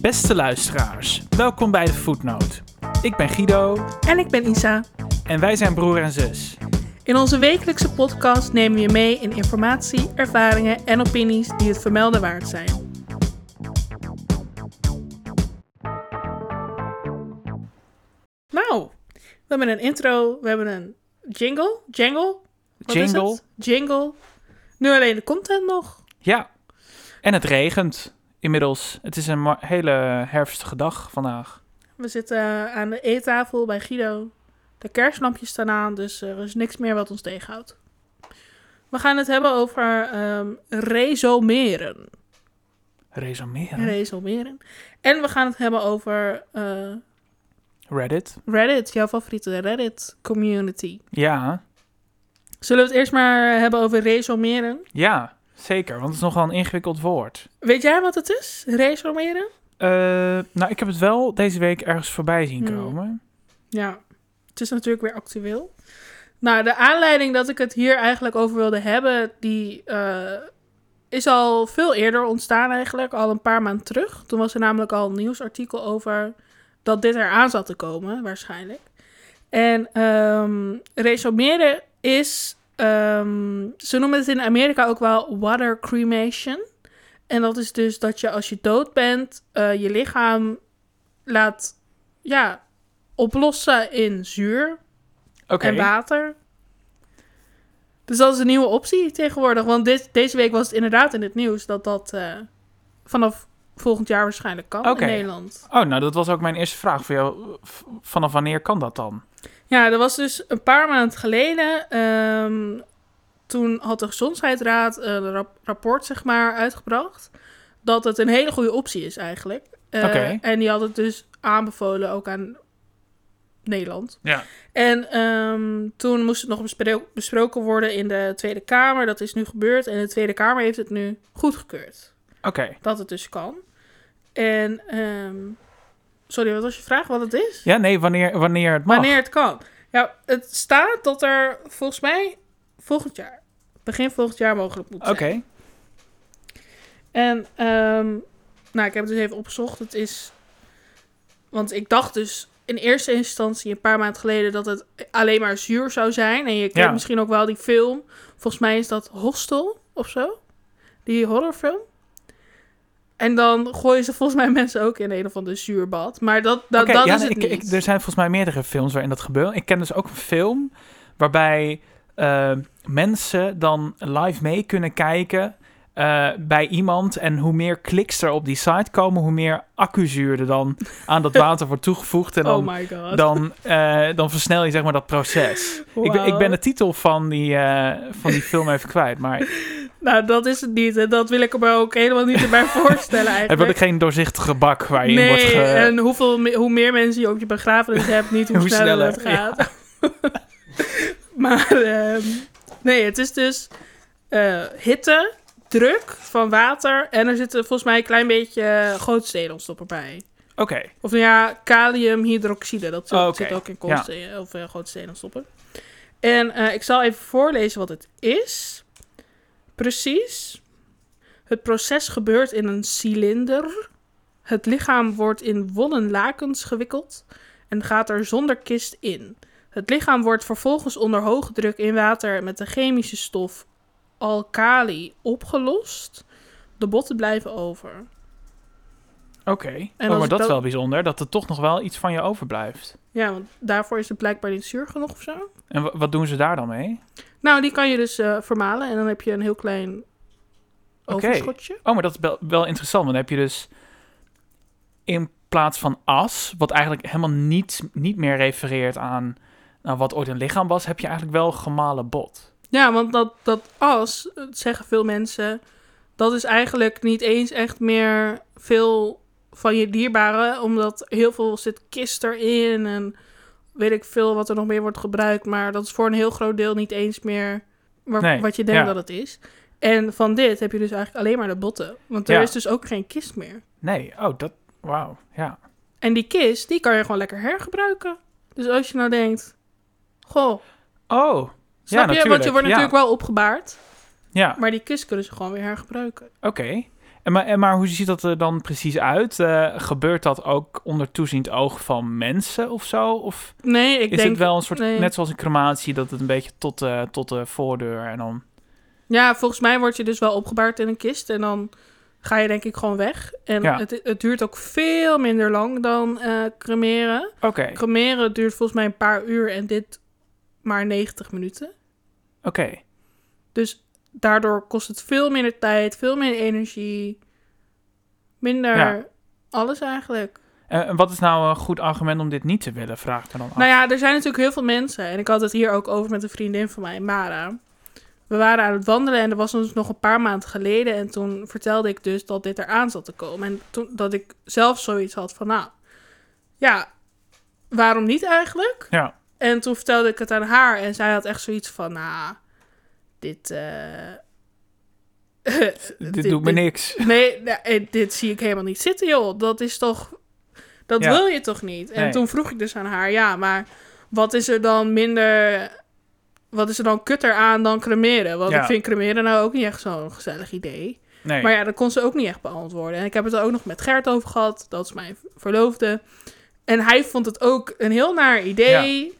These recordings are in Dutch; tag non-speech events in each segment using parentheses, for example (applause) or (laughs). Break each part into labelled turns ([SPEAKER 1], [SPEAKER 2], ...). [SPEAKER 1] Beste luisteraars, welkom bij de Footnote. Ik ben Guido
[SPEAKER 2] En ik ben Isa.
[SPEAKER 1] en wij zijn broer en zus.
[SPEAKER 2] In onze wekelijkse podcast nemen we je mee in informatie, ervaringen en opinies die het vermelden waard zijn. Nou, we hebben een intro, we hebben een jingle, jangle, wat is
[SPEAKER 1] Jingle.
[SPEAKER 2] het? jingle. Nu alleen de content nog.
[SPEAKER 1] Ja, en het regent inmiddels. Het is een ma- hele herfstige dag vandaag.
[SPEAKER 2] We zitten eh, aan de eettafel bij Guido. De kerstlampjes staan aan, dus er is niks meer wat ons tegenhoudt. We gaan het hebben over ehm resumeren.
[SPEAKER 1] Resumeren.
[SPEAKER 2] resumeren. En we gaan het hebben over eh,
[SPEAKER 1] Reddit.
[SPEAKER 2] Reddit, jouw favoriete Reddit community.
[SPEAKER 1] Ja,
[SPEAKER 2] Zullen we het eerst maar hebben over resumeren?
[SPEAKER 1] ja, zeker, want het is nogal een ingewikkeld woord.
[SPEAKER 2] Weet jij wat het is? Resumeren?
[SPEAKER 1] Eh, nou, ik heb het wel deze week ergens voorbij zien
[SPEAKER 2] Hmm.
[SPEAKER 1] komen.
[SPEAKER 2] Ja, het is natuurlijk weer actueel. Nou, de aanleiding dat ik het hier eigenlijk over wilde hebben, die eh, is al veel eerder ontstaan eigenlijk, al een paar maanden terug. Toen was er namelijk al een nieuwsartikel over dat dit eraan zat te komen, waarschijnlijk. En ehm resumeren is, ehm, ze noemen het in Amerika ook wel water cremation. En dat is dus dat je als je dood bent, eh, je lichaam laat, ja, oplossen in zuur
[SPEAKER 1] Oké,
[SPEAKER 2] en water. Dus dat is een nieuwe optie tegenwoordig. Want dit, deze week was het inderdaad in het nieuws dat dat eh, vanaf volgend jaar waarschijnlijk kan
[SPEAKER 1] Oké.
[SPEAKER 2] in Nederland.
[SPEAKER 1] Oh, nou, dat was ook mijn eerste vraag voor jou. V- vanaf wanneer kan dat dan?
[SPEAKER 2] Ja, dat was dus een paar maanden geleden. ehm, toen had de Gezondheidsraad een rap- rapport, zeg maar, uitgebracht. Dat het een hele goede optie is eigenlijk. Eh,
[SPEAKER 1] Oké.
[SPEAKER 2] En die had het dus aanbevolen ook aan Nederland.
[SPEAKER 1] Ja.
[SPEAKER 2] En ehm, toen moest het nog bespro- besproken worden in de Tweede Kamer. Dat is nu gebeurd. En de Tweede Kamer heeft het nu goedgekeurd.
[SPEAKER 1] Oké,
[SPEAKER 2] Dat het dus kan. En, ehm, sorry, wat was je vraag? Wat het is?
[SPEAKER 1] ja, nee, wanneer, wanneer het mag.
[SPEAKER 2] Wanneer het kan. Ja, het staat dat er volgens mij volgend jaar, begin volgend jaar mogelijk moet
[SPEAKER 1] Oké,
[SPEAKER 2] zijn. En ehm, nou, ik heb het dus even opgezocht. Het is. Want ik dacht dus in eerste instantie een paar maanden geleden dat het alleen maar zuur zou zijn. En je kent
[SPEAKER 1] Ja.
[SPEAKER 2] misschien ook wel die film. Volgens mij is dat Hostel of zo. Die horrorfilm. En dan gooien ze volgens mij (laughs) mensen ook in een of ander zuurbad. Maar dat, dat,
[SPEAKER 1] Oké,
[SPEAKER 2] dat
[SPEAKER 1] ja,
[SPEAKER 2] is
[SPEAKER 1] nee,
[SPEAKER 2] het
[SPEAKER 1] ik- dus-
[SPEAKER 2] niet.
[SPEAKER 1] ik- er zijn volgens mij meerdere films waarin dat gebeurt. Ik ken dus ook een film waarbij eh, mensen dan live mee kunnen kijken eh, bij iemand. En hoe meer kliks er op die site komen, hoe meer accuzuur er dan aan
[SPEAKER 2] (laughs)
[SPEAKER 1] dat water wordt toegevoegd. En dan,
[SPEAKER 2] oh my god.
[SPEAKER 1] dan, eh, dan versnel je zeg maar dat proces. Ik, ben- ik ben
[SPEAKER 2] Wauw.
[SPEAKER 1] de titel van die, eh, van die film even kwijt,
[SPEAKER 2] (laughs)
[SPEAKER 1] maar
[SPEAKER 2] Nou, dat is het niet. En dat wil ik me ook helemaal niet
[SPEAKER 1] (laughs)
[SPEAKER 2] erbij voorstellen eigenlijk.
[SPEAKER 1] heb ik geen doorzichtige bak waar je in wordt ge...
[SPEAKER 2] en hoeveel, me- hoe meer mensen je op je
[SPEAKER 1] (laughs)
[SPEAKER 2] begrafenis hebt, niet hoe,
[SPEAKER 1] Hoe
[SPEAKER 2] sneller,
[SPEAKER 1] sneller,
[SPEAKER 2] het gaat. (laughs) maar ehm, nee, het is dus eh, hitte, druk van water en er zitten volgens mij een klein beetje eh, gootsteenontstopper bij.
[SPEAKER 1] Oké,
[SPEAKER 2] Of nou ja, kaliumhydroxide, dat zit,
[SPEAKER 1] Oh, oké.
[SPEAKER 2] zit ook in
[SPEAKER 1] Ja.
[SPEAKER 2] koolsteen, of eh, gootsteenontstopper. En eh, ik zal even voorlezen wat het is. Precies. Het proces gebeurt in een cilinder. Het lichaam wordt in wollen lakens gewikkeld en gaat er zonder kist in. Het lichaam wordt vervolgens onder hoge druk in water met de chemische stof alkali opgelost. De botten blijven over.
[SPEAKER 1] oké. Oh,
[SPEAKER 2] als
[SPEAKER 1] maar
[SPEAKER 2] ik
[SPEAKER 1] dat is
[SPEAKER 2] dat-
[SPEAKER 1] wel bijzonder, dat er toch nog wel iets van je overblijft.
[SPEAKER 2] Ja, want daarvoor is het blijkbaar niet zuur genoeg of zo.
[SPEAKER 1] En wa- wat doen ze daar dan mee?
[SPEAKER 2] Nou, die kan je dus eh, vermalen en dan heb je een heel klein
[SPEAKER 1] Oké.
[SPEAKER 2] overschotje.
[SPEAKER 1] Oh, maar dat is wel, wel interessant. Want dan heb je dus in plaats van as, wat eigenlijk helemaal niet, niet meer refereert aan nou, wat ooit een lichaam was, heb je eigenlijk wel gemalen bot.
[SPEAKER 2] Ja, want dat, dat as, dat zeggen veel mensen, dat is eigenlijk niet eens echt meer veel van je dierbaren, omdat heel veel zit kist erin en weet ik veel wat er nog meer wordt gebruikt, maar dat is voor een heel groot deel niet eens meer waar-
[SPEAKER 1] Nee,
[SPEAKER 2] wat je denkt
[SPEAKER 1] ja.
[SPEAKER 2] dat het is. En van dit heb je dus eigenlijk alleen maar de botten, want er
[SPEAKER 1] Ja.
[SPEAKER 2] is dus ook geen kist meer.
[SPEAKER 1] Nee, oh, dat... Wauw, ja.
[SPEAKER 2] En die kist, die kan je gewoon lekker hergebruiken. Dus als je nou denkt, goh,
[SPEAKER 1] Oh, Ja,
[SPEAKER 2] snap je? Want
[SPEAKER 1] natuurlijk,
[SPEAKER 2] je wordt
[SPEAKER 1] ja.
[SPEAKER 2] natuurlijk wel opgebaard.
[SPEAKER 1] ja,
[SPEAKER 2] Maar die kist kunnen ze gewoon weer hergebruiken.
[SPEAKER 1] oké. En maar, en maar hoe ziet dat er dan precies uit? Eh, gebeurt dat ook onder toeziend oog van mensen of zo? Of
[SPEAKER 2] Nee, ik
[SPEAKER 1] is
[SPEAKER 2] denk...
[SPEAKER 1] het wel een soort,
[SPEAKER 2] nee.
[SPEAKER 1] net zoals een crematie, dat het een beetje tot, eh, tot de voordeur en dan...
[SPEAKER 2] Ja, volgens mij word je dus wel opgebaard in een kist en dan ga je denk ik gewoon weg. En
[SPEAKER 1] Ja.
[SPEAKER 2] het, het duurt ook veel minder lang dan eh, cremeren.
[SPEAKER 1] Oké, oké.
[SPEAKER 2] Cremeren duurt volgens mij een paar uur en dit maar 90 minuten. Dus daardoor kost het veel minder tijd, veel minder energie, minder
[SPEAKER 1] Ja.
[SPEAKER 2] alles eigenlijk.
[SPEAKER 1] En en wat is nou een goed argument om dit niet te willen, vraag ik me dan af.
[SPEAKER 2] Nou ja, er zijn natuurlijk heel veel mensen. En ik had het hier ook over met een vriendin van mij, Mara. We waren aan het wandelen en dat was ons nog een paar maanden geleden. En toen vertelde ik dus dat dit eraan zat te komen. En toen, dat ik zelf zoiets had van, nou, ja, waarom niet eigenlijk?
[SPEAKER 1] Ja.
[SPEAKER 2] En toen vertelde ik het aan haar en zij had echt zoiets van, nou, dit... eh,
[SPEAKER 1] dit, doet me niks.
[SPEAKER 2] (laughs) Nee, nou, eh, dit zie ik helemaal niet zitten, joh. Dat is toch. Dat
[SPEAKER 1] Ja.
[SPEAKER 2] wil je toch niet? En
[SPEAKER 1] Nee.
[SPEAKER 2] toen vroeg ik dus aan haar: ja, maar wat is er dan minder. Wat is er dan kutter aan dan cremeren? Want
[SPEAKER 1] Ja.
[SPEAKER 2] ik vind cremeren nou ook niet echt zo'n gezellig idee.
[SPEAKER 1] Nee.
[SPEAKER 2] Maar ja, dat kon ze ook niet echt beantwoorden. En ik heb het er ook nog met Gert over gehad. Dat is mijn verloofde. En hij vond het ook een heel naar idee.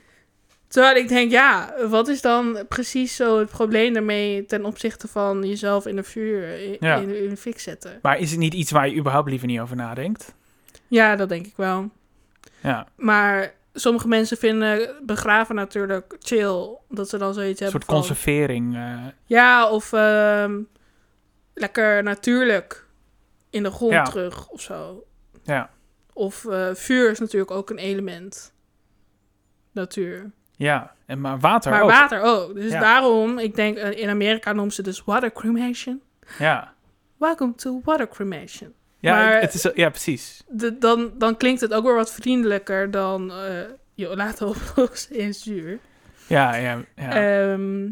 [SPEAKER 2] Terwijl ik denk, ja, wat is dan precies zo het probleem daarmee ten opzichte van jezelf in de vuur, in,
[SPEAKER 1] Ja.
[SPEAKER 2] in, in de fik zetten?
[SPEAKER 1] maar is het niet iets waar je überhaupt liever niet over nadenkt?
[SPEAKER 2] Ja, dat denk ik wel.
[SPEAKER 1] Ja,
[SPEAKER 2] Maar sommige mensen vinden begraven natuurlijk chill. Dat ze dan zoiets
[SPEAKER 1] een
[SPEAKER 2] hebben
[SPEAKER 1] soort
[SPEAKER 2] van...
[SPEAKER 1] conservering. eh,
[SPEAKER 2] Ja, of ehm, lekker natuurlijk in de grond
[SPEAKER 1] Ja.
[SPEAKER 2] terug of zo.
[SPEAKER 1] Ja.
[SPEAKER 2] Of eh, vuur is natuurlijk ook een element. Natuur.
[SPEAKER 1] ja, en maar water
[SPEAKER 2] maar
[SPEAKER 1] ook.
[SPEAKER 2] water ook. Dus
[SPEAKER 1] Ja.
[SPEAKER 2] daarom, ik denk, eh, in Amerika noemen ze dus water cremation.
[SPEAKER 1] Ja,
[SPEAKER 2] Welcome to water cremation.
[SPEAKER 1] ja,
[SPEAKER 2] Maar-
[SPEAKER 1] het- het is, ja precies.
[SPEAKER 2] De- dan, dan klinkt het ook weer wat vriendelijker dan eh je laten oplossen (laughs) in zuur.
[SPEAKER 1] Ja, ja, ja.
[SPEAKER 2] Ehm,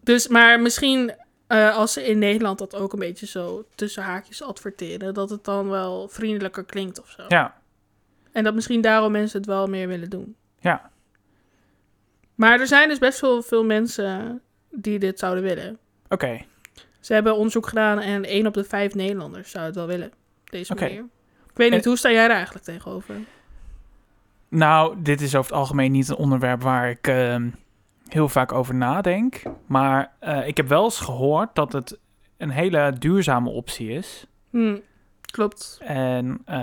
[SPEAKER 2] dus, maar misschien eh, als ze in Nederland dat ook een beetje zo tussen haakjes adverteren, dat het dan wel vriendelijker klinkt of zo.
[SPEAKER 1] ja.
[SPEAKER 2] En dat misschien daarom mensen het wel meer willen doen.
[SPEAKER 1] Ja.
[SPEAKER 2] Maar er zijn dus best wel veel mensen die dit zouden willen.
[SPEAKER 1] Oké,
[SPEAKER 2] Ze hebben onderzoek gedaan en 1 op de 5 Nederlanders zou het wel willen. Deze
[SPEAKER 1] Oké.
[SPEAKER 2] manier. Ik weet niet,
[SPEAKER 1] En-
[SPEAKER 2] hoe sta jij daar eigenlijk tegenover?
[SPEAKER 1] nou, dit is over het algemeen niet een onderwerp waar ik ehm, heel vaak over nadenk. Maar eh, ik heb wel eens gehoord dat het een hele duurzame optie is.
[SPEAKER 2] Hm, klopt.
[SPEAKER 1] En eh,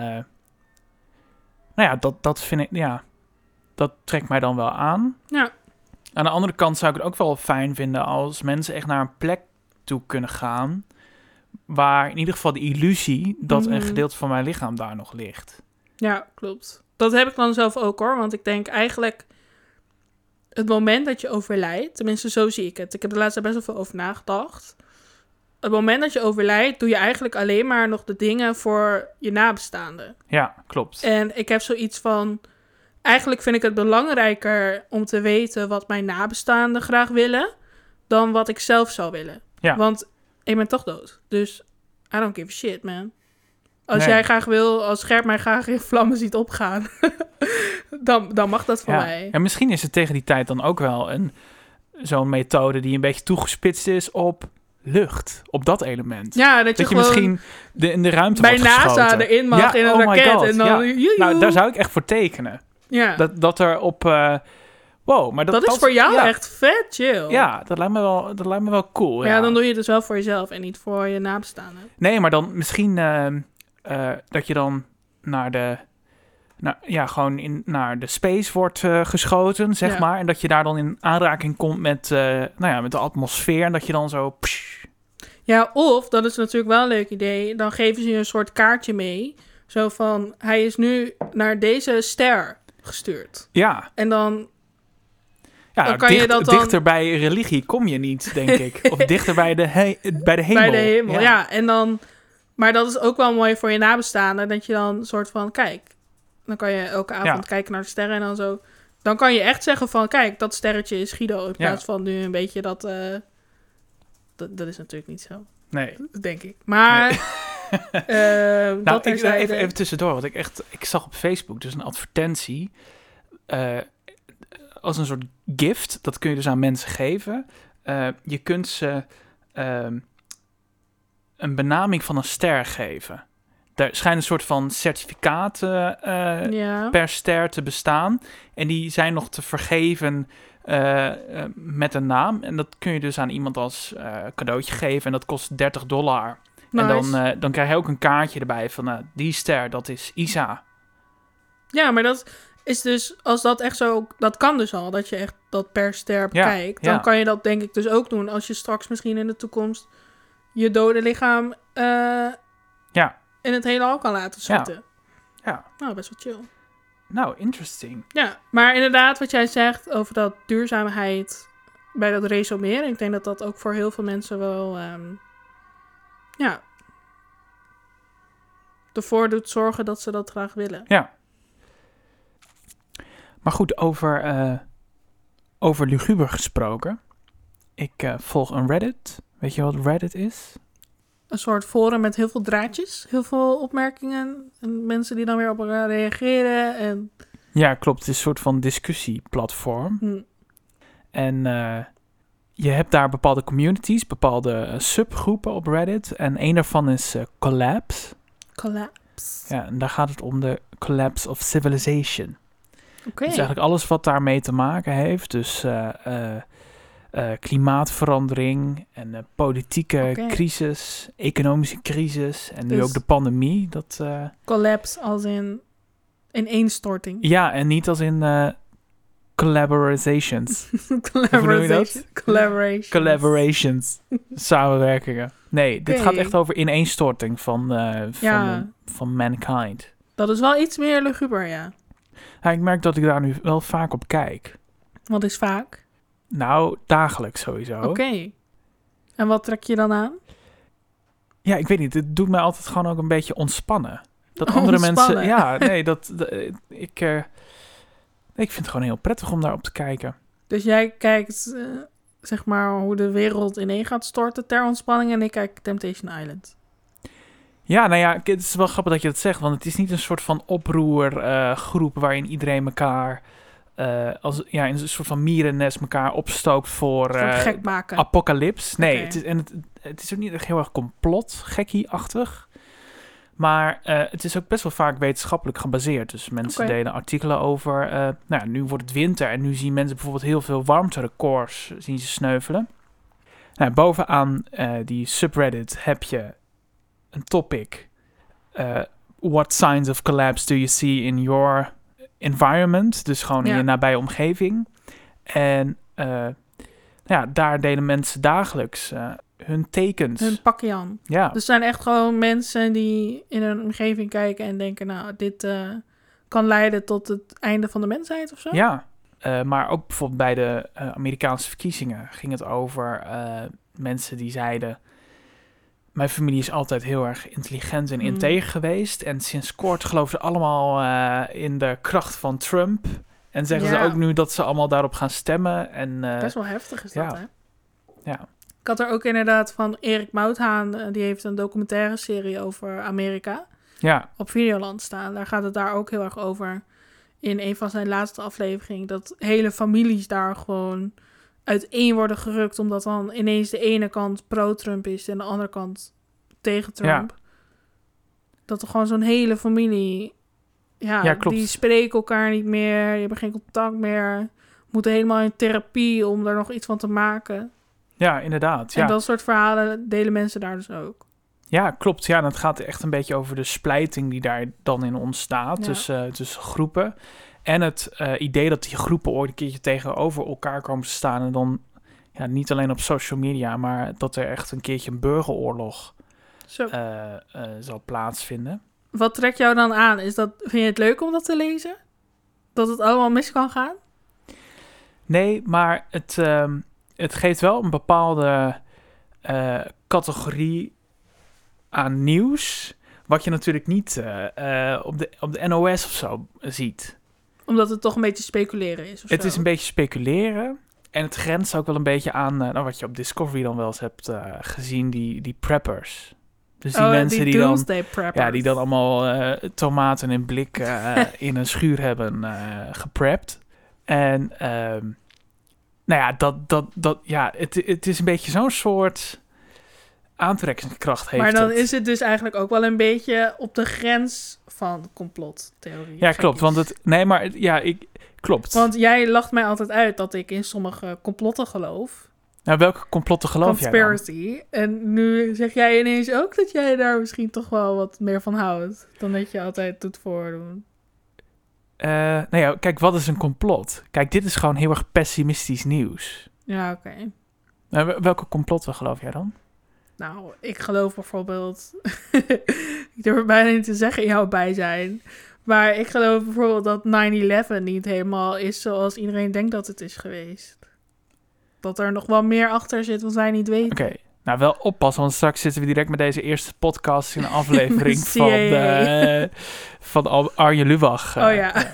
[SPEAKER 1] nou ja, dat, dat vind ik, ja, dat trekt mij dan wel aan.
[SPEAKER 2] Ja.
[SPEAKER 1] Aan de andere kant zou ik het ook wel fijn vinden als mensen echt naar een plek toe kunnen gaan. Waar in ieder geval de illusie dat een
[SPEAKER 2] Mhm.
[SPEAKER 1] gedeelte van mijn lichaam daar nog ligt.
[SPEAKER 2] Ja, klopt. Dat heb ik dan zelf ook hoor. Want ik denk eigenlijk het moment dat je overlijdt, tenminste zo zie ik het. Ik heb er laatst daar best wel veel over nagedacht. Het moment dat je overlijdt, doe je eigenlijk alleen maar nog de dingen voor je nabestaanden.
[SPEAKER 1] Ja, klopt.
[SPEAKER 2] En ik heb zoiets van. Eigenlijk vind ik het belangrijker om te weten wat mijn nabestaanden graag willen. dan wat ik zelf zou willen.
[SPEAKER 1] Ja.
[SPEAKER 2] Want ik ben toch dood. Dus I don't give a shit, man. Als
[SPEAKER 1] Nee.
[SPEAKER 2] jij graag wil, als Scherp mij graag in vlammen ziet opgaan. (laughs) dan, dan mag dat van
[SPEAKER 1] ja.
[SPEAKER 2] mij.
[SPEAKER 1] En misschien is het tegen die tijd dan ook wel een, zo'n methode die een beetje toegespitst is op lucht, op dat element.
[SPEAKER 2] Ja, dat je,
[SPEAKER 1] dat je
[SPEAKER 2] gewoon
[SPEAKER 1] misschien de, in de ruimte
[SPEAKER 2] bij
[SPEAKER 1] wordt
[SPEAKER 2] NASA
[SPEAKER 1] geschoten.
[SPEAKER 2] erin mag
[SPEAKER 1] Ja,
[SPEAKER 2] in een
[SPEAKER 1] oh my
[SPEAKER 2] raket.
[SPEAKER 1] God,
[SPEAKER 2] en dan.
[SPEAKER 1] ja.
[SPEAKER 2] joejoe.
[SPEAKER 1] Nou, daar zou ik echt voor tekenen.
[SPEAKER 2] ja. dat,
[SPEAKER 1] Dat, dat er op. eh, wow, maar dat,
[SPEAKER 2] is voor jou
[SPEAKER 1] ja,
[SPEAKER 2] echt vet chill.
[SPEAKER 1] Ja, dat lijkt me wel, dat lijkt me wel cool.
[SPEAKER 2] Maar
[SPEAKER 1] Ja.
[SPEAKER 2] ja, dan doe je het dus wel voor jezelf en niet voor je nabestaanden.
[SPEAKER 1] Nee, maar dan misschien ehm, eh, dat je dan naar de. Naar, ja, gewoon in, naar de space wordt eh, geschoten, zeg
[SPEAKER 2] Ja.
[SPEAKER 1] maar. En dat je daar dan in aanraking komt met, eh, nou ja, met de atmosfeer. En dat je dan zo. psh,
[SPEAKER 2] Ja, of, dat is natuurlijk wel een leuk idee, dan geven ze je een soort kaartje mee. Zo van, hij is nu naar deze ster gestuurd.
[SPEAKER 1] ja,
[SPEAKER 2] En dan,
[SPEAKER 1] ja
[SPEAKER 2] Dan kan je dat dan-
[SPEAKER 1] dichter bij religie kom je niet, denk ik.
[SPEAKER 2] (laughs)
[SPEAKER 1] of dichter bij de, he- bij de hemel.
[SPEAKER 2] bij de hemel, ja. En dan, maar dat is ook wel mooi voor je nabestaanden, dat je dan een soort van, kijk, dan kan je elke avond kijken naar de sterren en dan zo. Dan kan je echt zeggen van, kijk, dat sterretje is Guido, in
[SPEAKER 1] Ja.
[SPEAKER 2] plaats van nu een beetje dat, eh, dat, dat is natuurlijk niet zo,
[SPEAKER 1] Nee.
[SPEAKER 2] denk ik. Maar,
[SPEAKER 1] (laughs)
[SPEAKER 2] eh,
[SPEAKER 1] Nou,
[SPEAKER 2] dat
[SPEAKER 1] ik,
[SPEAKER 2] terzijde.
[SPEAKER 1] even, even tussendoor, want ik, echt, ik zag op Facebook dus een advertentie eh, als een soort gift. Dat kun je dus aan mensen geven. Eh, je kunt ze ehm, een benaming van een ster geven. Er schijnen een soort van certificaten eh,
[SPEAKER 2] ja.
[SPEAKER 1] per ster te bestaan. En die zijn nog te vergeven eh, eh, met een naam. En dat kun je dus aan iemand als eh, cadeautje geven. En dat kost 30 dollar. En dan,
[SPEAKER 2] Nice.
[SPEAKER 1] eh, dan krijg je ook een kaartje erbij van nou, die ster, dat is Isa.
[SPEAKER 2] Ja, maar dat is dus, als dat echt zo, dat kan dus al, dat je echt dat per ster bekijkt. Dan
[SPEAKER 1] ja.
[SPEAKER 2] kan je dat denk ik dus ook doen als je straks misschien in de toekomst je dode lichaam eh,
[SPEAKER 1] Ja.
[SPEAKER 2] in het hele al kan laten schieten.
[SPEAKER 1] Ja.
[SPEAKER 2] Nou, best wel chill.
[SPEAKER 1] Nou, interesting.
[SPEAKER 2] Ja, maar inderdaad, wat jij zegt over dat duurzaamheid bij dat resumeren. Ik denk dat dat ook voor heel veel mensen wel. ehm, ja. ervoor doet zorgen dat ze dat graag willen.
[SPEAKER 1] Maar goed, over, eh, over luguber gesproken. Ik eh, volg een Reddit. Weet je wat Reddit is?
[SPEAKER 2] Een soort forum met heel veel draadjes, heel veel opmerkingen. En mensen die dan weer op elkaar reageren. En,
[SPEAKER 1] Ja, klopt. Het is een soort van discussieplatform.
[SPEAKER 2] hm,
[SPEAKER 1] En eh, je hebt daar bepaalde communities, bepaalde eh, subgroepen op Reddit. En een daarvan is eh, Collapse.
[SPEAKER 2] collapse.
[SPEAKER 1] Ja, en daar gaat het om de Collapse of Civilization.
[SPEAKER 2] Oké.
[SPEAKER 1] Dus eigenlijk alles wat daarmee te maken heeft. Dus eh, eh, eh, klimaatverandering en eh, politieke
[SPEAKER 2] Oké.
[SPEAKER 1] crisis, economische crisis en nu
[SPEAKER 2] Dus-
[SPEAKER 1] ook de pandemie. Dat, eh,
[SPEAKER 2] Collapse als in ineenstorting.
[SPEAKER 1] ja, en niet als in eh
[SPEAKER 2] (laughs)
[SPEAKER 1] collaborations. noem je dat?
[SPEAKER 2] Collaboration. (laughs)
[SPEAKER 1] Collaborations. Samenwerkingen. Nee, dit
[SPEAKER 2] Oké.
[SPEAKER 1] gaat echt over ineenstorting van, eh, van,
[SPEAKER 2] Ja.
[SPEAKER 1] van mankind.
[SPEAKER 2] Dat is wel iets meer luguber, ja.
[SPEAKER 1] Ja, ik merk dat ik daar nu wel vaak op kijk.
[SPEAKER 2] Wat is vaak.
[SPEAKER 1] Nou, dagelijks sowieso.
[SPEAKER 2] Oké. En wat trek je dan aan?
[SPEAKER 1] Ja, ik weet niet. Het doet mij altijd gewoon ook een beetje ontspannen. Dat
[SPEAKER 2] Oh,
[SPEAKER 1] andere mensen.
[SPEAKER 2] ontspannen.
[SPEAKER 1] Ja, nee, dat. d- ik, eh, ik vind het gewoon heel prettig om daarop te kijken.
[SPEAKER 2] Dus jij kijkt, eh, zeg maar, hoe de wereld ineen gaat storten ter ontspanning. En ik kijk Temptation Island.
[SPEAKER 1] Ja, nou ja, k- het is wel grappig dat je dat zegt. Want het is niet een soort van oproergroep waarin iedereen elkaar. eh, als, ja, in een soort van mierennest elkaar opstookt voor.
[SPEAKER 2] Voor
[SPEAKER 1] eh,
[SPEAKER 2] gek maken.
[SPEAKER 1] Apocalypse. Nee,
[SPEAKER 2] Oké.
[SPEAKER 1] het, is, en het, het is ook niet echt heel erg complot, gekkie-achtig. Maar eh, het is ook best wel vaak wetenschappelijk gebaseerd. Dus mensen
[SPEAKER 2] Oké.
[SPEAKER 1] delen artikelen over. eh, nou, ja, nu wordt het winter en nu zien mensen bijvoorbeeld heel veel warmterecords eh, zien ze sneuvelen. Nou, bovenaan eh, die subreddit heb je een topic. eh, what signs of collapse do you see in your environment? Dus gewoon in
[SPEAKER 2] Ja.
[SPEAKER 1] je nabije omgeving. En eh, nou ja, daar delen mensen dagelijks eh, hun tekens.
[SPEAKER 2] Hun pakken Jan.
[SPEAKER 1] ja.
[SPEAKER 2] Dus het zijn echt gewoon mensen die in hun omgeving kijken en denken, nou, dit eh, kan leiden tot het einde van de mensheid of zo.
[SPEAKER 1] Ja, Eh, maar ook bijvoorbeeld bij de eh, Amerikaanse verkiezingen ging het over eh, mensen die zeiden... Mijn familie is altijd heel erg intelligent en
[SPEAKER 2] Mm.
[SPEAKER 1] integer geweest. En sinds kort geloven ze allemaal eh, in de kracht van Trump. En zeggen
[SPEAKER 2] Ja.
[SPEAKER 1] ze ook nu dat ze allemaal daarop gaan stemmen. En, eh,
[SPEAKER 2] Best wel heftig is dat,
[SPEAKER 1] ja.
[SPEAKER 2] hè?
[SPEAKER 1] Ja.
[SPEAKER 2] Ik had er ook inderdaad van Erik Mouthaan, eh, die heeft een documentaire serie over Amerika.
[SPEAKER 1] ja,
[SPEAKER 2] op Videoland staan. Daar gaat het daar ook heel erg over. In een van zijn laatste afleveringen. Dat hele families daar gewoon uiteen worden gerukt. Omdat dan ineens de ene kant pro-Trump is en de andere kant tegen Trump. Dat er gewoon zo'n hele familie. Ja,
[SPEAKER 1] Ja, klopt.
[SPEAKER 2] die spreken elkaar niet meer. Je hebt geen contact meer. Moeten helemaal in therapie om daar nog iets van te maken.
[SPEAKER 1] ja, inderdaad. Ja.
[SPEAKER 2] En dat soort verhalen delen mensen daar dus ook.
[SPEAKER 1] Ja, klopt. Ja, en het gaat echt een beetje over de splijting die daar dan in ontstaat
[SPEAKER 2] Ja.
[SPEAKER 1] tussen, eh, tussen groepen. En het eh, idee dat die groepen ooit een keertje tegenover elkaar komen te staan. En dan ja, niet alleen op social media, maar dat er echt een keertje een burgeroorlog
[SPEAKER 2] Zo.
[SPEAKER 1] eh, eh, zal plaatsvinden.
[SPEAKER 2] Wat trekt jou dan aan? Is dat, vind je het leuk om dat te lezen? Dat het allemaal mis kan gaan?
[SPEAKER 1] Nee, maar het, ehm, het geeft wel een bepaalde eh, categorie aan nieuws. Wat je natuurlijk niet eh, eh, op, de, op de NOS of zo ziet.
[SPEAKER 2] Omdat het toch een beetje speculeren is of
[SPEAKER 1] Het
[SPEAKER 2] zo.
[SPEAKER 1] is een beetje speculeren. En het grenst ook wel een beetje aan eh, nou, wat je op Discovery dan wel eens hebt eh, gezien, die, die preppers. Dus die
[SPEAKER 2] Oh,
[SPEAKER 1] mensen die, dan,
[SPEAKER 2] doomsday preppers.
[SPEAKER 1] ja, die dan allemaal eh, tomaten in blik eh, in een schuur hebben eh geprept. En ehm, nou ja, dat, dat, dat, ja het, het is een beetje zo'n soort aantrekkingskracht heeft.
[SPEAKER 2] maar dan
[SPEAKER 1] het.
[SPEAKER 2] is het dus eigenlijk ook wel een beetje op de grens van complottheorie.
[SPEAKER 1] Ja,
[SPEAKER 2] vind
[SPEAKER 1] klopt.
[SPEAKER 2] ik.
[SPEAKER 1] Want het... Nee, maar het- ja, ik... Klopt.
[SPEAKER 2] Want jij lacht mij altijd uit dat ik in sommige complotten geloof.
[SPEAKER 1] Nou, welke complotten geloof jij dan?
[SPEAKER 2] conspiracy. En nu zeg jij ineens ook dat jij daar misschien toch wel wat meer van houdt. Dan dat je altijd doet voordoen.
[SPEAKER 1] Eh, nou ja, kijk, wat is een complot? Kijk, dit is gewoon heel erg pessimistisch nieuws.
[SPEAKER 2] Ja, oké.
[SPEAKER 1] Nou, wel- welke complotten geloof jij dan?
[SPEAKER 2] Nou, ik geloof bijvoorbeeld. (laughs) ik durf het bijna niet te zeggen in jouw bijzijn. Maar ik geloof bijvoorbeeld dat 9-11 niet helemaal is zoals iedereen denkt dat het is geweest. Dat er nog wel meer achter zit wat wij niet weten.
[SPEAKER 1] Oké, nou wel oppassen, want straks zitten we direct met deze eerste podcast
[SPEAKER 2] (laughs)
[SPEAKER 1] in een aflevering
[SPEAKER 2] Met
[SPEAKER 1] van,
[SPEAKER 2] CIA.
[SPEAKER 1] eh, van Al- Arjen Lubach. eh.
[SPEAKER 2] oh ja.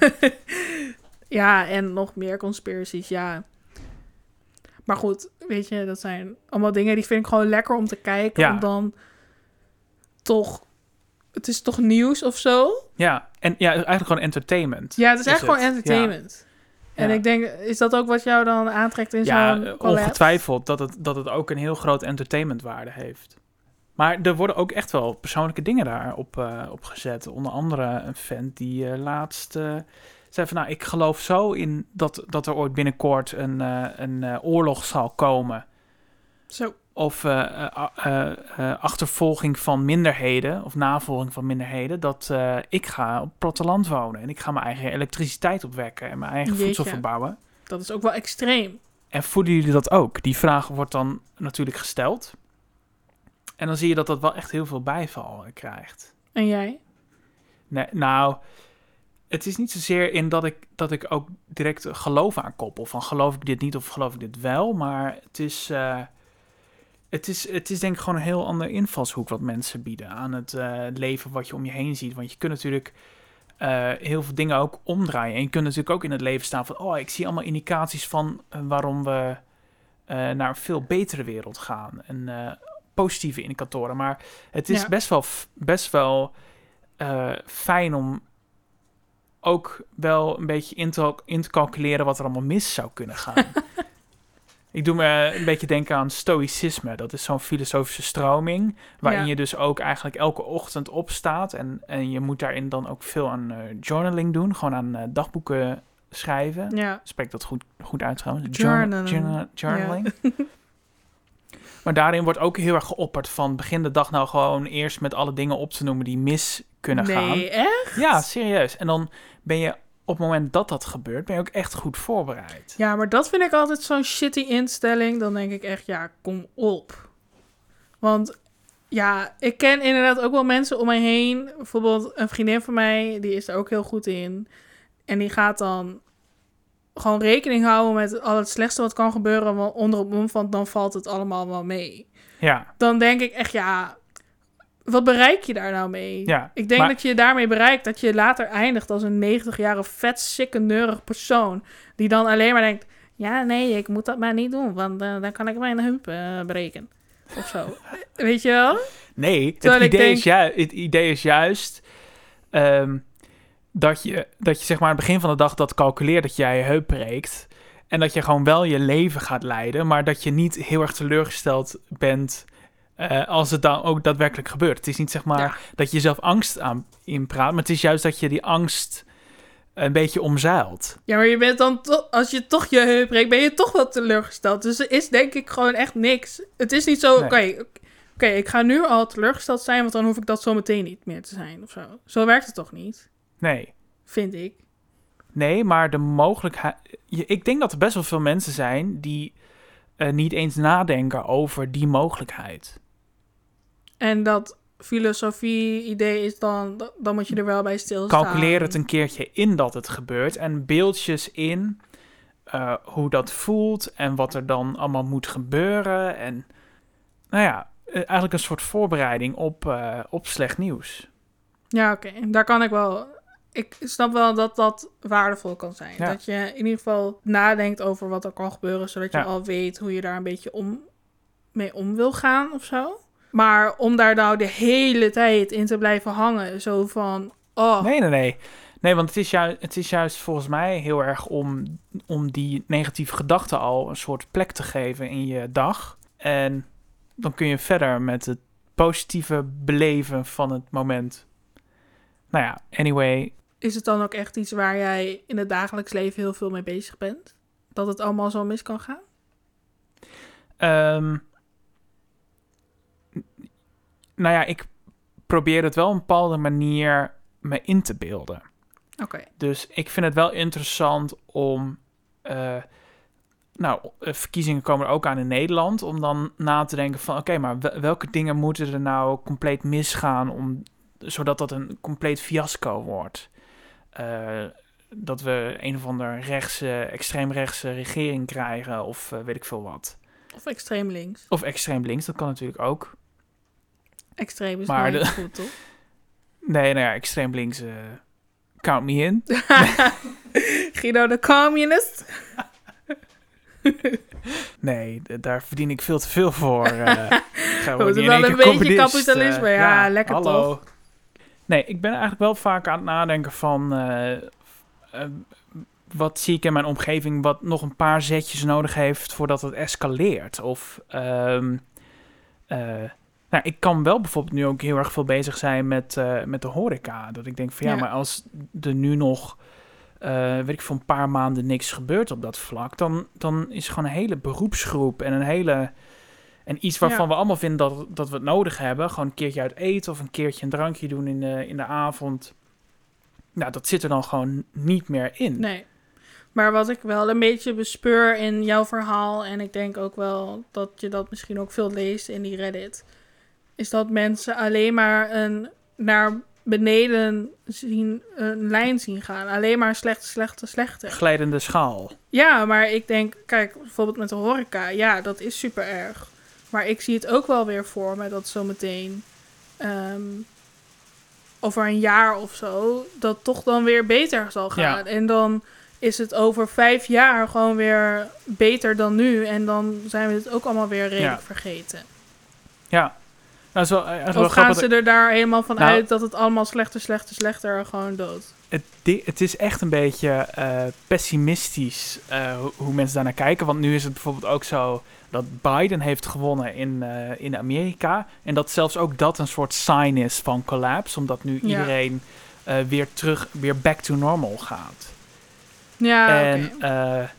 [SPEAKER 2] (laughs) ja, en nog meer conspiracies, ja. Maar goed, weet je, dat zijn allemaal dingen die vind ik gewoon lekker om te kijken.
[SPEAKER 1] Ja.
[SPEAKER 2] Om dan toch. Het is toch nieuws of zo?
[SPEAKER 1] Ja, en ja, eigenlijk gewoon entertainment.
[SPEAKER 2] Ja, het is,
[SPEAKER 1] Is
[SPEAKER 2] echt gewoon
[SPEAKER 1] het, ja.
[SPEAKER 2] entertainment. En
[SPEAKER 1] Ja.
[SPEAKER 2] ik denk, is dat ook wat jou dan aantrekt in
[SPEAKER 1] Ja,
[SPEAKER 2] zo'n
[SPEAKER 1] eh,
[SPEAKER 2] collab?
[SPEAKER 1] ongetwijfeld dat het, dat het ook een heel groot entertainmentwaarde heeft. Maar er worden ook echt wel persoonlijke dingen daarop eh op gezet. Onder andere een vent die eh, laatst eh, zei van... Nou, ik geloof zo in dat, dat er ooit binnenkort een, eh, een eh, oorlog zal komen.
[SPEAKER 2] Zo.
[SPEAKER 1] Of eh, eh, eh, eh, achtervolging van minderheden of navolging van minderheden. Dat eh, ik ga op het platteland wonen. En ik ga mijn eigen elektriciteit opwekken en mijn eigen
[SPEAKER 2] Jeetje.
[SPEAKER 1] voedsel verbouwen.
[SPEAKER 2] Dat is ook wel extreem.
[SPEAKER 1] En voelen jullie dat ook? Die vraag wordt dan natuurlijk gesteld. En dan zie je dat dat wel echt heel veel bijval krijgt.
[SPEAKER 2] En jij?
[SPEAKER 1] Nee, nou, het is niet zozeer in dat ik, dat ik ook direct geloof aan koppel. Van geloof ik dit niet of geloof ik dit wel. Maar het is, eh, het is, het is denk ik gewoon een heel ander invalshoek wat mensen bieden aan het eh, leven wat je om je heen ziet. Want je kunt natuurlijk eh, heel veel dingen ook omdraaien. En je kunt natuurlijk ook in het leven staan van, oh, ik zie allemaal indicaties van eh, waarom we eh, naar een veel betere wereld gaan. En eh, positieve indicatoren. Maar het is
[SPEAKER 2] Ja.
[SPEAKER 1] best wel, f- best wel eh, fijn om ook wel een beetje in te, in te calculeren wat er allemaal mis zou kunnen gaan. Ik doe me een beetje denken aan stoïcisme. Dat is zo'n filosofische stroming. Waarin
[SPEAKER 2] Ja.
[SPEAKER 1] je dus ook eigenlijk elke ochtend opstaat. En, en je moet daarin dan ook veel aan eh, journaling doen. Gewoon aan eh, dagboeken schrijven.
[SPEAKER 2] Ja.
[SPEAKER 1] Spreek dat goed, goed uit trouwens.
[SPEAKER 2] Journalen.
[SPEAKER 1] journa- journaling. (laughs) maar daarin wordt ook heel erg geopperd van... begin de dag nou gewoon eerst met alle dingen op te noemen die mis kunnen gaan.
[SPEAKER 2] nee, echt?
[SPEAKER 1] Ja, serieus. En dan ben je op het moment dat dat gebeurt... ben je ook echt goed voorbereid.
[SPEAKER 2] Ja, maar dat vind ik altijd zo'n shitty instelling. Dan denk ik echt, ja, kom op. Want ja, ik ken inderdaad ook wel mensen om mij heen. Bijvoorbeeld een vriendin van mij, die is er ook heel goed in. En die gaat dan gewoon rekening houden met al het slechtste wat kan gebeuren. Want onder het mom van, dan valt het allemaal wel mee.
[SPEAKER 1] Ja,
[SPEAKER 2] dan denk ik echt, ja, wat bereik je daar nou mee?
[SPEAKER 1] ja.
[SPEAKER 2] Ik denk
[SPEAKER 1] Maar-
[SPEAKER 2] dat je daarmee bereikt dat je later eindigt als een 90-jarige vet, sikke, neurig persoon. Die dan alleen maar denkt, ja, nee, ik moet dat maar niet doen, want eh, dan kan ik mijn heup eh, breken. Of zo. (laughs) Weet je wel?
[SPEAKER 1] Nee, het
[SPEAKER 2] Terwijl
[SPEAKER 1] idee,
[SPEAKER 2] ik denk-
[SPEAKER 1] is ju- het idee is juist ehm, dat, je, dat je zeg maar aan het begin van de dag dat calculeert dat jij je heup breekt. En dat je gewoon wel je leven gaat leiden, maar dat je niet heel erg teleurgesteld bent eh, als het dan ook daadwerkelijk gebeurt. Het is niet zeg maar
[SPEAKER 2] Ja.
[SPEAKER 1] dat je zelf angst aan inpraat, maar het is juist dat je die angst een beetje omzeilt.
[SPEAKER 2] Ja, maar je bent dan toch, als je toch je heup breekt, ben je toch wel teleurgesteld. Dus er is denk ik gewoon echt niks. Het is niet zo,
[SPEAKER 1] Nee.
[SPEAKER 2] oké, oké, ik ga nu al teleurgesteld zijn, want dan hoef ik dat zo meteen niet meer te zijn of zo. Zo werkt het toch niet,
[SPEAKER 1] Nee.
[SPEAKER 2] vind ik.
[SPEAKER 1] Nee, maar de mogelijkheid. je- Ik denk dat er best wel veel mensen zijn die eh, niet eens nadenken over die mogelijkheid.
[SPEAKER 2] En dat filosofie-idee is dan, d- dan moet je er wel bij stilstaan.
[SPEAKER 1] Calculeer het een keertje in dat het gebeurt en beeldjes in eh, hoe dat voelt en wat er dan allemaal moet gebeuren. En nou ja, eh, eigenlijk een soort voorbereiding op, eh, op slecht nieuws.
[SPEAKER 2] Ja, oké. Daar kan ik wel... Ik snap wel dat dat waardevol kan zijn.
[SPEAKER 1] Ja.
[SPEAKER 2] Dat je in ieder geval nadenkt over wat er kan gebeuren, zodat je
[SPEAKER 1] Ja.
[SPEAKER 2] al weet hoe je daar een beetje om, mee om wil gaan of zo. Maar om daar nou de hele tijd in te blijven hangen, zo van... Oh,
[SPEAKER 1] Nee, nee, nee. Nee, want het is, juist, het is juist volgens mij heel erg om, om die negatieve gedachten al een soort plek te geven in je dag. En dan kun je verder met het positieve beleven van het moment. Nou ja, anyway.
[SPEAKER 2] Is het dan ook echt iets waar jij in het dagelijks leven heel veel mee bezig bent? Dat het allemaal zo mis kan gaan?
[SPEAKER 1] ehm, nou ja, ik probeer het wel op een bepaalde manier me in te beelden.
[SPEAKER 2] Oké.
[SPEAKER 1] Dus ik vind het wel interessant om. eh, nou, eh, verkiezingen komen er ook aan in Nederland. Om dan na te denken van: oké, maar wel- welke dingen moeten er nou compleet misgaan. Om, zodat dat een compleet fiasco wordt? Eh, dat we een of ander rechtse, extreemrechtse regering krijgen of eh, weet ik veel wat.
[SPEAKER 2] Of extreem links.
[SPEAKER 1] Of extreem links, dat kan natuurlijk ook.
[SPEAKER 2] Extreem is
[SPEAKER 1] Maar
[SPEAKER 2] maar
[SPEAKER 1] de-
[SPEAKER 2] goed, toch? (laughs)
[SPEAKER 1] Nee, nou ja, extreem links, eh, count me in.
[SPEAKER 2] Guido de communist.
[SPEAKER 1] Nee, d- daar verdien ik veel te veel
[SPEAKER 2] (laughs)
[SPEAKER 1] voor. eh. gaan we
[SPEAKER 2] We moeten
[SPEAKER 1] niet in
[SPEAKER 2] wel
[SPEAKER 1] één
[SPEAKER 2] een
[SPEAKER 1] keer
[SPEAKER 2] beetje
[SPEAKER 1] communist,
[SPEAKER 2] kapitalisme.
[SPEAKER 1] eh,
[SPEAKER 2] Ja, lekker
[SPEAKER 1] toch? Nee, ik ben eigenlijk wel vaak aan het nadenken van... eh, eh, wat zie ik in mijn omgeving wat nog een paar zetjes nodig heeft voordat het escaleert? Of... ehm, eh, nou, ik kan wel bijvoorbeeld nu ook heel erg veel bezig zijn met, eh, met de horeca. Dat ik denk van ja,
[SPEAKER 2] Ja.
[SPEAKER 1] maar als er nu nog... eh, weet ik, voor een paar maanden niks gebeurt op dat vlak, dan, dan is gewoon een hele beroepsgroep en een hele en iets waarvan
[SPEAKER 2] Ja.
[SPEAKER 1] we allemaal vinden dat, dat we het nodig hebben. Gewoon een keertje uit eten of een keertje een drankje doen in de, in de avond. Nou, dat zit er dan gewoon niet meer in.
[SPEAKER 2] Nee. Maar wat ik wel een beetje bespeur in jouw verhaal, en ik denk ook wel dat je dat misschien ook veel leest in die Reddit, is dat mensen alleen maar een naar beneden zien, een lijn zien gaan. Alleen maar slechter, slechter, slechter.
[SPEAKER 1] Glijdende schaal.
[SPEAKER 2] Ja, maar ik denk, kijk, bijvoorbeeld met de horeca, ja, dat is super erg. Maar ik zie het ook wel weer voor me dat zometeen, ehm, over een jaar of zo, dat toch dan weer beter zal gaan. En dan is het over vijf jaar gewoon weer beter dan nu. En dan zijn we het ook allemaal weer redelijk
[SPEAKER 1] Ja.
[SPEAKER 2] vergeten.
[SPEAKER 1] Ja. Nou, zo, eigenlijk wel
[SPEAKER 2] Of gaan
[SPEAKER 1] grappig
[SPEAKER 2] ze er daar helemaal van
[SPEAKER 1] Nou-
[SPEAKER 2] uit dat het allemaal slechter, slechter, slechter, gewoon dood.
[SPEAKER 1] het, di- het is echt een beetje eh, pessimistisch eh, ho- hoe mensen daarnaar kijken. Want nu is het bijvoorbeeld ook zo dat Biden heeft gewonnen in, eh, in Amerika. En dat zelfs ook dat een soort sign is van collapse. Omdat nu
[SPEAKER 2] Ja.
[SPEAKER 1] iedereen eh, weer terug, weer back to normal gaat.
[SPEAKER 2] Ja, Ah, oké.
[SPEAKER 1] en eh,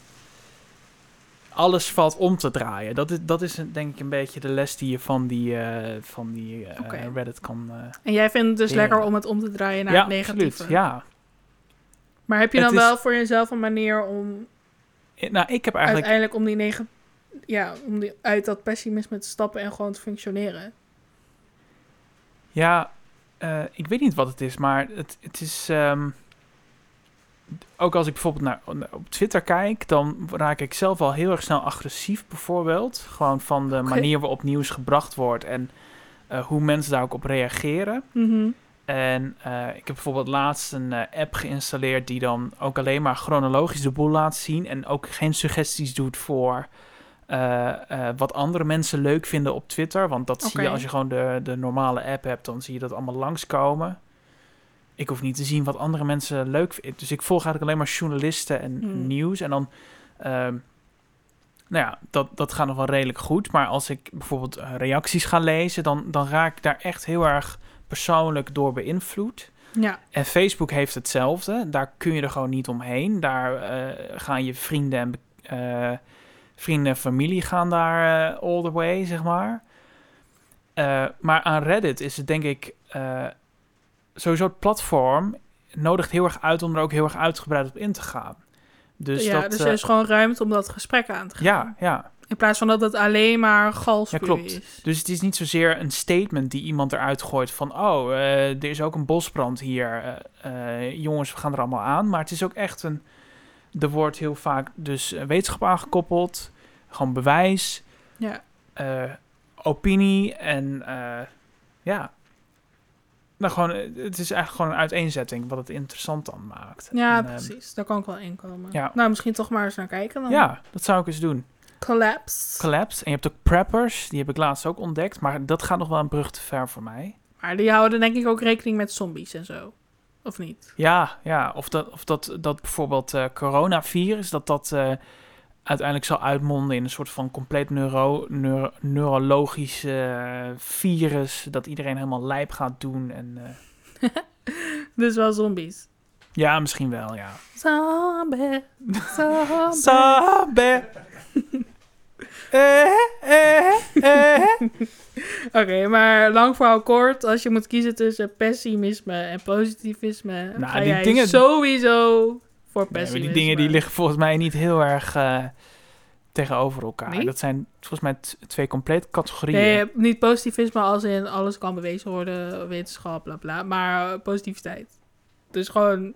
[SPEAKER 1] alles valt om te draaien. Dat is, dat is een- denk ik een beetje de les die je van die, eh, van die eh,
[SPEAKER 2] Oké.
[SPEAKER 1] Reddit kan... eh,
[SPEAKER 2] En jij vindt het dus
[SPEAKER 1] Ja.
[SPEAKER 2] lekker om het om te draaien naar
[SPEAKER 1] ja,
[SPEAKER 2] het negatieve.
[SPEAKER 1] absoluut. Ja,
[SPEAKER 2] Maar heb je dan
[SPEAKER 1] Het is-
[SPEAKER 2] wel voor jezelf een manier om
[SPEAKER 1] Eh, Nou, ik heb eigenlijk
[SPEAKER 2] uiteindelijk om die negen, ja, om die uit dat pessimisme te stappen en gewoon te functioneren?
[SPEAKER 1] Ja, eh, ik weet niet wat het is, maar het, het is. ehm, ook als ik bijvoorbeeld naar, naar- op Twitter kijk, dan raak ik zelf al heel erg snel agressief, bijvoorbeeld. Gewoon van de manier waarop nieuws gebracht wordt en eh, hoe mensen daar ook op reageren.
[SPEAKER 2] Mhm.
[SPEAKER 1] En eh, ik heb bijvoorbeeld laatst een eh, app geïnstalleerd die dan ook alleen maar chronologisch de boel laat zien. En ook geen suggesties doet voor eh, eh, wat andere mensen leuk vinden op Twitter. Want dat zie je
[SPEAKER 2] Oké.
[SPEAKER 1] als je gewoon de, de normale app hebt, dan zie je dat allemaal langskomen. Ik hoef niet te zien wat andere mensen leuk vinden. Dus ik volg eigenlijk alleen maar journalisten en
[SPEAKER 2] Hmm.
[SPEAKER 1] nieuws. En dan, ehm, nou ja, dat, dat gaat nog wel redelijk goed. Maar als ik bijvoorbeeld eh, reacties ga lezen, dan, dan raak ik daar echt heel erg persoonlijk door beïnvloed.
[SPEAKER 2] Ja,
[SPEAKER 1] En Facebook heeft hetzelfde. Daar kun je er gewoon niet omheen. Daar eh, gaan je vrienden en be- eh, vrienden en familie gaan daar eh, all the way, zeg maar. Eh, maar aan Reddit is het denk ik eh, sowieso het platform nodigt heel erg uit om er ook heel erg uitgebreid op in te gaan. Dus
[SPEAKER 2] ja
[SPEAKER 1] dat
[SPEAKER 2] dus
[SPEAKER 1] eh,
[SPEAKER 2] er is gewoon ruimte om dat gesprek aan te gaan.
[SPEAKER 1] ja, ja.
[SPEAKER 2] In plaats van dat het alleen maar galspuw
[SPEAKER 1] Ja, klopt.
[SPEAKER 2] is.
[SPEAKER 1] Dus het is niet zozeer een statement die iemand eruit gooit van... oh, eh, er is ook een bosbrand hier. eh, eh, jongens, we gaan er allemaal aan. Maar het is ook echt een... Er wordt heel vaak dus eh, wetenschap aangekoppeld. Gewoon bewijs,
[SPEAKER 2] Ja.
[SPEAKER 1] eh, opinie en eh, ja... Nou, gewoon, eh, het is eigenlijk gewoon een uiteenzetting wat het interessant dan maakt.
[SPEAKER 2] Ja,
[SPEAKER 1] En, eh,
[SPEAKER 2] precies. Daar kan ik wel in komen.
[SPEAKER 1] ja.
[SPEAKER 2] Nou, misschien toch maar eens naar kijken dan.
[SPEAKER 1] ja, dat zou ik eens doen.
[SPEAKER 2] Collapse.
[SPEAKER 1] Collapse. En je hebt ook preppers. Die heb ik laatst ook ontdekt. Maar dat gaat nog wel een brug te ver voor mij.
[SPEAKER 2] maar die houden denk ik ook rekening met zombies en zo. Of niet? (laughs)
[SPEAKER 1] Ja, ja. Of dat, of dat, dat bijvoorbeeld eh, coronavirus, dat dat eh, uiteindelijk zal uitmonden in een soort van compleet neuro, neuro- neurologisch eh, virus. Dat iedereen helemaal lijp gaat doen. En, eh,
[SPEAKER 2] Dus wel zombies.
[SPEAKER 1] ja, misschien wel, ja.
[SPEAKER 2] Zombie. Zombie.
[SPEAKER 1] Sabe. eh, eh, eh.
[SPEAKER 2] (laughs) Oké, maar lang verhaal kort. Als je moet kiezen tussen pessimisme en positivisme,
[SPEAKER 1] Nou,
[SPEAKER 2] ga
[SPEAKER 1] die
[SPEAKER 2] jij
[SPEAKER 1] dingen-
[SPEAKER 2] sowieso voor
[SPEAKER 1] Nee, maar
[SPEAKER 2] pessimisme.
[SPEAKER 1] die dingen die liggen volgens mij niet heel erg eh, tegenover elkaar.
[SPEAKER 2] Nee?
[SPEAKER 1] Dat zijn volgens mij t- twee complete categorieën.
[SPEAKER 2] Nee, niet positivisme als in alles kan bewezen worden, wetenschap, bla bla, maar eh, positiviteit. Dus gewoon,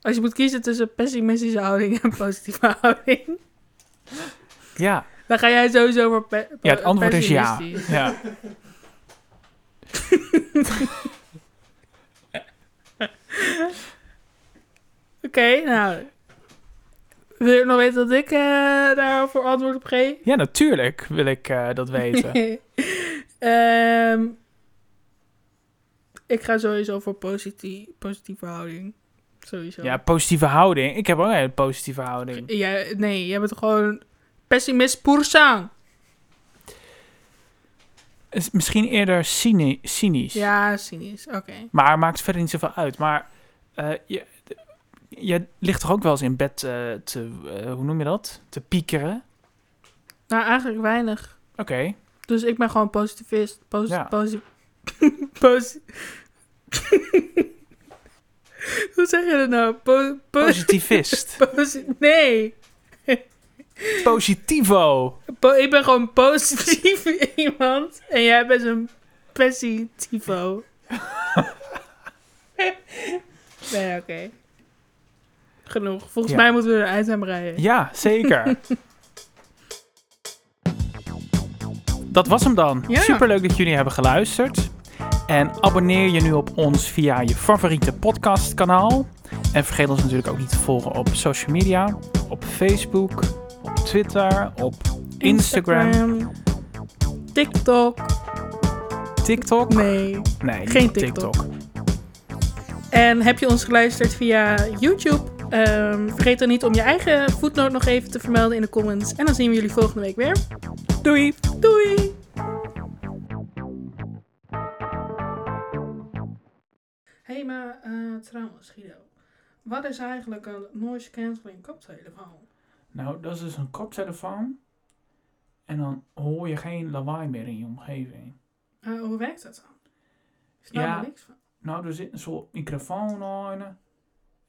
[SPEAKER 2] als je moet kiezen tussen pessimistische houding en (laughs) positieve houding,
[SPEAKER 1] Ja,
[SPEAKER 2] dan ga jij sowieso voor pe-
[SPEAKER 1] ja, het antwoord is ja.
[SPEAKER 2] pessimistisch.
[SPEAKER 1] ja.
[SPEAKER 2] Oké, nou. Wil je nog weten dat ik eh, daarvoor antwoord op geef?
[SPEAKER 1] Ja, natuurlijk wil ik eh, dat weten.
[SPEAKER 2] (laughs) Ehm, ik ga sowieso voor positief, positieve houding. Sowieso.
[SPEAKER 1] ja, positieve houding. Ik heb ook een hele positieve houding.
[SPEAKER 2] Jij- nee, jij bent gewoon pessimist pur sang.
[SPEAKER 1] Is Misschien eerder cyni- cynisch.
[SPEAKER 2] Ja, cynisch. Oké.
[SPEAKER 1] Maar maakt verder niet zoveel uit. Maar eh, je, d- jij ligt toch ook wel eens in bed eh, te, eh, hoe noem je dat? Te piekeren.
[SPEAKER 2] Nou, eigenlijk weinig.
[SPEAKER 1] Oké.
[SPEAKER 2] Dus ik ben gewoon positivist. Posi
[SPEAKER 1] Ja.
[SPEAKER 2] posi (laughs) posi (laughs) Hoe zeg je dat nou? Po po-
[SPEAKER 1] Positivist.
[SPEAKER 2] (laughs) posi- nee.
[SPEAKER 1] Positivo.
[SPEAKER 2] Po- ik ben gewoon positief (laughs) iemand. En jij bent een
[SPEAKER 1] (laughs)
[SPEAKER 2] positivo. nee, oké. Genoeg. Volgens
[SPEAKER 1] Ja.
[SPEAKER 2] mij moeten we eruit aan breien.
[SPEAKER 1] Ja, zeker. dat was hem dan.
[SPEAKER 2] Ja.
[SPEAKER 1] Superleuk dat jullie hebben geluisterd. En abonneer je nu op ons via je favoriete podcastkanaal. En vergeet ons natuurlijk ook niet te volgen op social media. Op Facebook, op Twitter, op Instagram,
[SPEAKER 2] Instagram, TikTok.
[SPEAKER 1] TikTok.
[SPEAKER 2] Nee.
[SPEAKER 1] Nee, niet
[SPEAKER 2] geen
[SPEAKER 1] op
[SPEAKER 2] TikTok. En heb je ons geluisterd via YouTube? Ehm, vergeet dan niet om je eigen voetnoot nog even te vermelden in de comments. En dan zien we jullie volgende week weer.
[SPEAKER 1] Doei!
[SPEAKER 2] Doei! Hé, hey, maar eh, trouwens, Guido. Wat is eigenlijk een noise cancelling koptelefoon?
[SPEAKER 1] Nou, dat is dus een koptelefoon. En dan hoor je geen lawaai meer in je omgeving.
[SPEAKER 2] Eh, hoe werkt dat dan? Ik snap
[SPEAKER 1] Ja.
[SPEAKER 2] er niks van.
[SPEAKER 1] Nou, er zit een soort microfoon aan.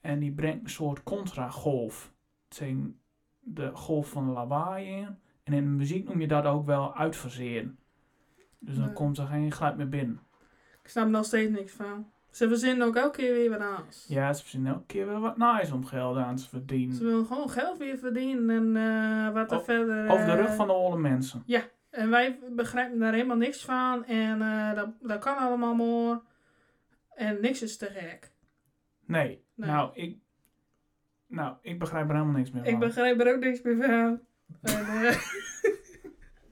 [SPEAKER 1] En die brengt een soort contragolf. Tegen de golf van lawaai in. En in de muziek noem je dat ook wel uitfaseren. Dus dan
[SPEAKER 2] Ja.
[SPEAKER 1] komt er geen geluid meer binnen.
[SPEAKER 2] Ik snap er nog steeds niks van. Ze verzinnen ook elke keer weer wat anders.
[SPEAKER 1] Ja, ze verzinnen elke keer wel wat nice om geld aan te
[SPEAKER 2] Ze
[SPEAKER 1] verdienen.
[SPEAKER 2] willen gewoon geld weer verdienen en eh, wat er
[SPEAKER 1] Op-
[SPEAKER 2] verder...
[SPEAKER 1] Oh, Over de
[SPEAKER 2] eh,
[SPEAKER 1] rug van de olle mensen.
[SPEAKER 2] En wij begrijpen daar helemaal niks van. En eh, dat, dat kan allemaal maar. En niks is te gek.
[SPEAKER 1] Nee.
[SPEAKER 2] Nee.
[SPEAKER 1] Nou, ik... Nou, ik begrijp er helemaal niks meer van.
[SPEAKER 2] Ik begrijp er ook niks meer van. En, eh,